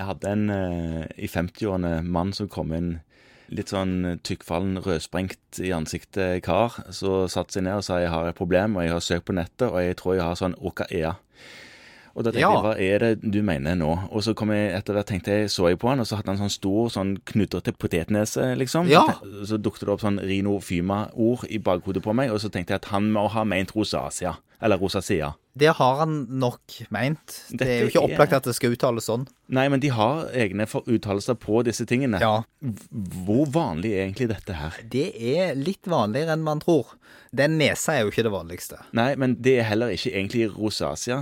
Jeg hadde en eh, i 50-årene mann som kom inn litt sånn tykkfallen, rødsprengt i ansiktet kar, så satte seg ned og sa jeg har et problem, og jeg har søkt på nettet, og jeg tror jeg har sånn OKEA. Og da tenkte Ja. jeg, hva er det du mener nå? Og så kom jeg etter hvert, tenkte jeg, så jeg på han, og så hadde han sånn stor, sånn knudrete potetnese, liksom. Ja. Så, så dukte det opp sånn rinofyma-ord i bakhodet på meg, og så tenkte jeg at han må ha ment rosacea, eller rosacea. Det har han nok meint. Det er jo Dette ikke er- opplagt at det skal uttales sånn. Nei, men de har egne for- uttalelser på disse tingene. Ja. Hvor vanlig er egentlig dette her? Det er litt vanligere enn man tror. Den nesa er jo ikke det vanligste. Nei, men det er heller ikke egentlig rosacea.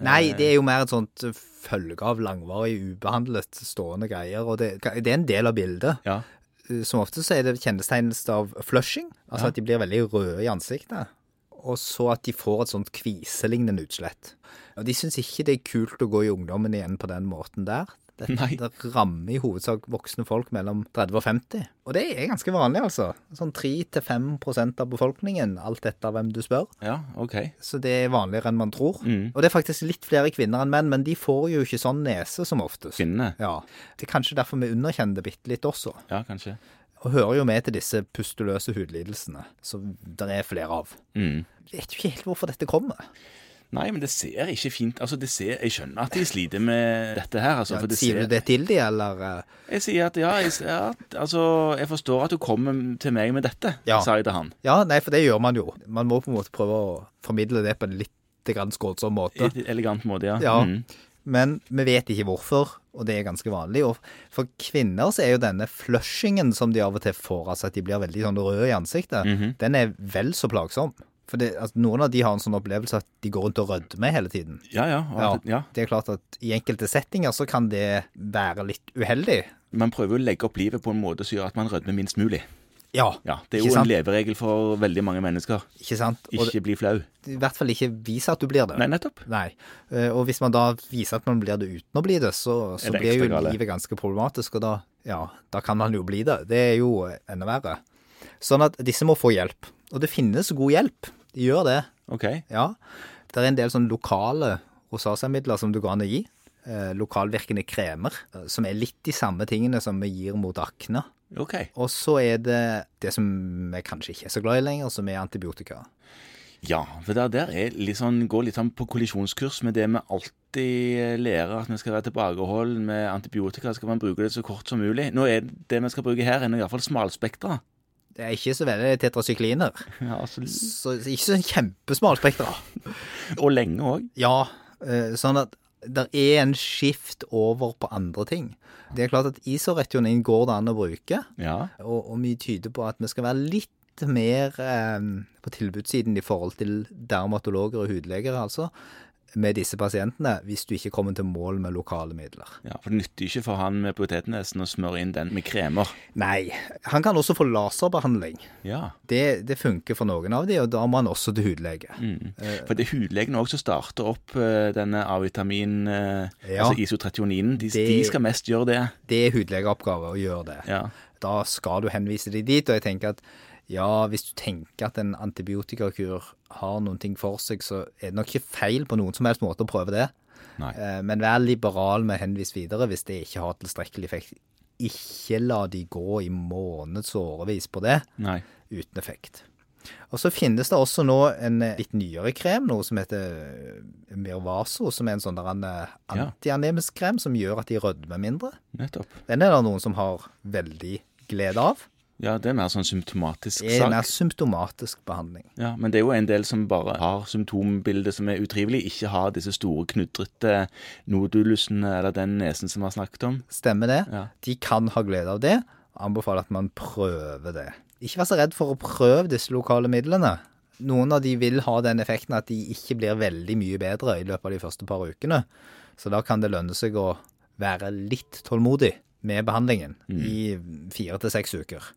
Eh. Nei, det er jo mer et sånt følge av langvarig ubehandlet stående greier, og det, det er en del av bildet. Ja. eh, Som ofte så er det kjennetegnelse av flushing, altså at de blir veldig røde i ansiktet, og så at de får et sånt kviselignende utslett. Og de syns ikke det er kult å gå i ungdommen igjen på den måten der. Det, Nei. det rammer i hovedsak voksne folk mellom 30 og 50. Og det er ganske vanlig, altså. Sånn 3-5 prosent av befolkningen, alt etter hvem du spør. Ja, OK. Så det er vanligere enn man tror. Og det er faktisk litt flere kvinner enn menn, men de får jo ikke sånn nese som oftest. Kvinnene? Ja. Det er kanskje derfor vi underkjenner det bitte litt også, Ja, kanskje. og hører jo med til disse pustuløse hudlidelsene, som det er flere av. Mm. Jeg vet jo ikke helt hvorfor dette kommer. Nei, men det ser ikke fint Altså, det ser, jeg skjønner at de sliter med dette her, altså. Ja, for det sier ser, du det til de, eller? eh? Jeg sier at ja, jeg, ser at, altså, jeg forstår at du kommer til meg med dette, Ja. sa jeg til han. Ja, nei, for det gjør man jo. Man må på en måte prøve å formidle det på en litt grann skånsom I måte. et elegant måte, ja. Ja. Mm. Men vi vet ikke hvorfor, og det er ganske vanlig. Og for kvinner så er jo denne flushingen som de av og til får, altså at de blir veldig sånn røde i ansiktet, Mhm. den er vel så plagsom. For det, altså, noen av de har en sånn opplevelse at de går rundt og rødmer hele tiden. Ja, ja, og at- ja. Det er klart at i enkelte settinger så kan det være litt uheldig. Man prøver jo å legge opp livet på en måte som gjør at man rødmer minst mulig. Ja, Ja, Det er Ikke jo en sant? leveregel for veldig mange mennesker. ikke sant? Og Ikke bli flau. i hvert fall ikke vise at du blir det. Nei, nettopp. Nei. Eh, Og hvis man da viser at man blir det uten å bli det, så, så Er det blir jo ekstra gale? livet ganske problematisk, og da, ja, da kan man jo bli det. Det er jo enda verre. Sånn at disse må få hjelp. Og det finnes god hjelp. De gjør det, OK. ja. Det er en del sånne lokale rosacea-midler som du går an å gi. Eh, Lokalvirkende kremer, eh, som er litt de samme tingene som vi gir mot akne. ok. Og så er det det som vi kanskje ikke er så glad i lenger, som er antibiotika. Ja, for det der er litt sånn, går litt sånn på kollisjonskurs med det vi alltid eh, lærer, at vi skal være tilbakeholden med antibiotika, skal man bruke det så kort som mulig. Nå er det vi skal bruke her, er nå iallfall smalspektra. Det er ikke så veldig tetrasykliner. Ja, altså, Så ikke sånn kjempesmalt spekter. og lenge òg. Ja, eh, sånn at det er en skift over på andre ting. Det er klart at isoretionin går det an å bruke, Ja. og, og mye tyder på at vi skal være litt mer eh, på tilbudssiden i forhold til dermatologer og hudleger, altså, med disse pasientene, hvis du ikke kommer til mål med lokale midler. ja. For det nytter ikke for han med potetnesen å smøre inn den med kremer. Nei, han kan også få laserbehandling. Ja. Det, det funker for noen av de, og da må han også til hudlege. Mm. Eh, For det er hudlegene òg som starter opp eh, denne A-vitamin, eh, Ja. altså isotrationinen. De, Det- de skal mest gjøre det. Det er hudlegeoppgave å gjøre det. Ja. da skal du henvise deg dit. Og jeg tenker at ja, hvis du tenker at en antibiotikakur har noen ting for seg, så er det nok ikke feil på noen som helst måte å prøve det. Nei. Eh, Men vær liberal med å henvise videre hvis det ikke har tilstrekkelig effekt. Ikke la de gå i måneds og årevis på det Nei. uten effekt. Og så finnes det også nå en eh, litt nyere krem, noe som heter eh, Mirvaso, som er en sånn der en eh, Ja. antianemisk krem som gjør at de rødmer mindre. Nettopp. Den er det noen som har veldig glede av. Ja, det er mer sånn symptomatisk Det er sak. mer symptomatisk behandling. Ja, Men det er jo en del som bare har symptombildet som er utrivelig, ikke har disse store, knudrete nodulusene eller den nesen som vi har snakket om. Stemmer det? Ja. De kan ha glede av det. Anbefaler at man prøver det. Ikke vær så redd for å prøve disse lokale midlene. Noen av de vil ha den effekten at de ikke blir veldig mye bedre i løpet av de første par ukene. Så da kan det lønne seg å være litt tålmodig med behandlingen i fire til seks uker.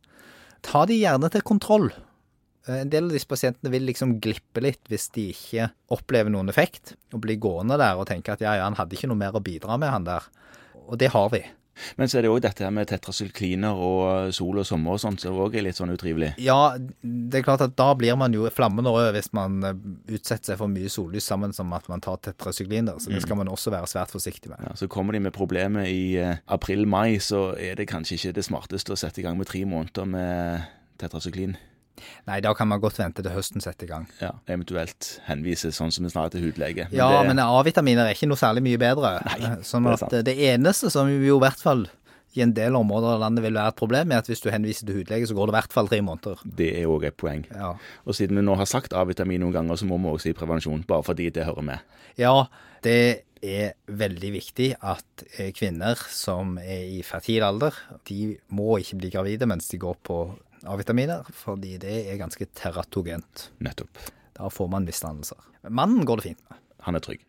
Ta de gjerne til kontroll. Eh, En del av disse pasientene vil liksom glippe litt hvis de ikke opplever noen effekt, og blir gående der og tenke at ja, ja, han hadde ikke noe mer å bidra med, han der. Og det har vi. Men så er det òg dette her med tetrasykliner og eh, sol og sommer og sånt, som òg er litt sånn utrivelig. Ja, det er klart at da blir man jo flammende rød hvis man eh, utsetter seg for mye sollys sammen som at man tar tetrasykliner, så det skal man også være svært forsiktig med. Mm. Ja, så kommer de med problemet i eh, april-mai, så er det kanskje ikke det smarteste å sette i gang med tre måneder med tetrasyklin. Nei, da kan man godt vente til høsten setter i gang. Ja, Eventuelt henvise sånn som vi snarere til hudlege. Ja, det- men A-vitaminer er ikke noe særlig mye bedre. Nei, sånn det er at sant. eh, det eneste som jo i hvert fall i en del områder av landet vil være et problem, er at hvis du henviser til hudlege, så går det i hvert fall tre måneder. det er òg et poeng. Ja. Og siden vi nå har sagt A-vitamin noen ganger, så må vi også si prevensjon, bare fordi det hører med. Ja, det er veldig viktig at eh, kvinner som er i fertil alder, de må ikke bli gravide mens de går på A-vitaminer, fordi det er ganske teratogent. Nettopp. Da får man misdannelser. Mannen går det fint med. Han er trygg.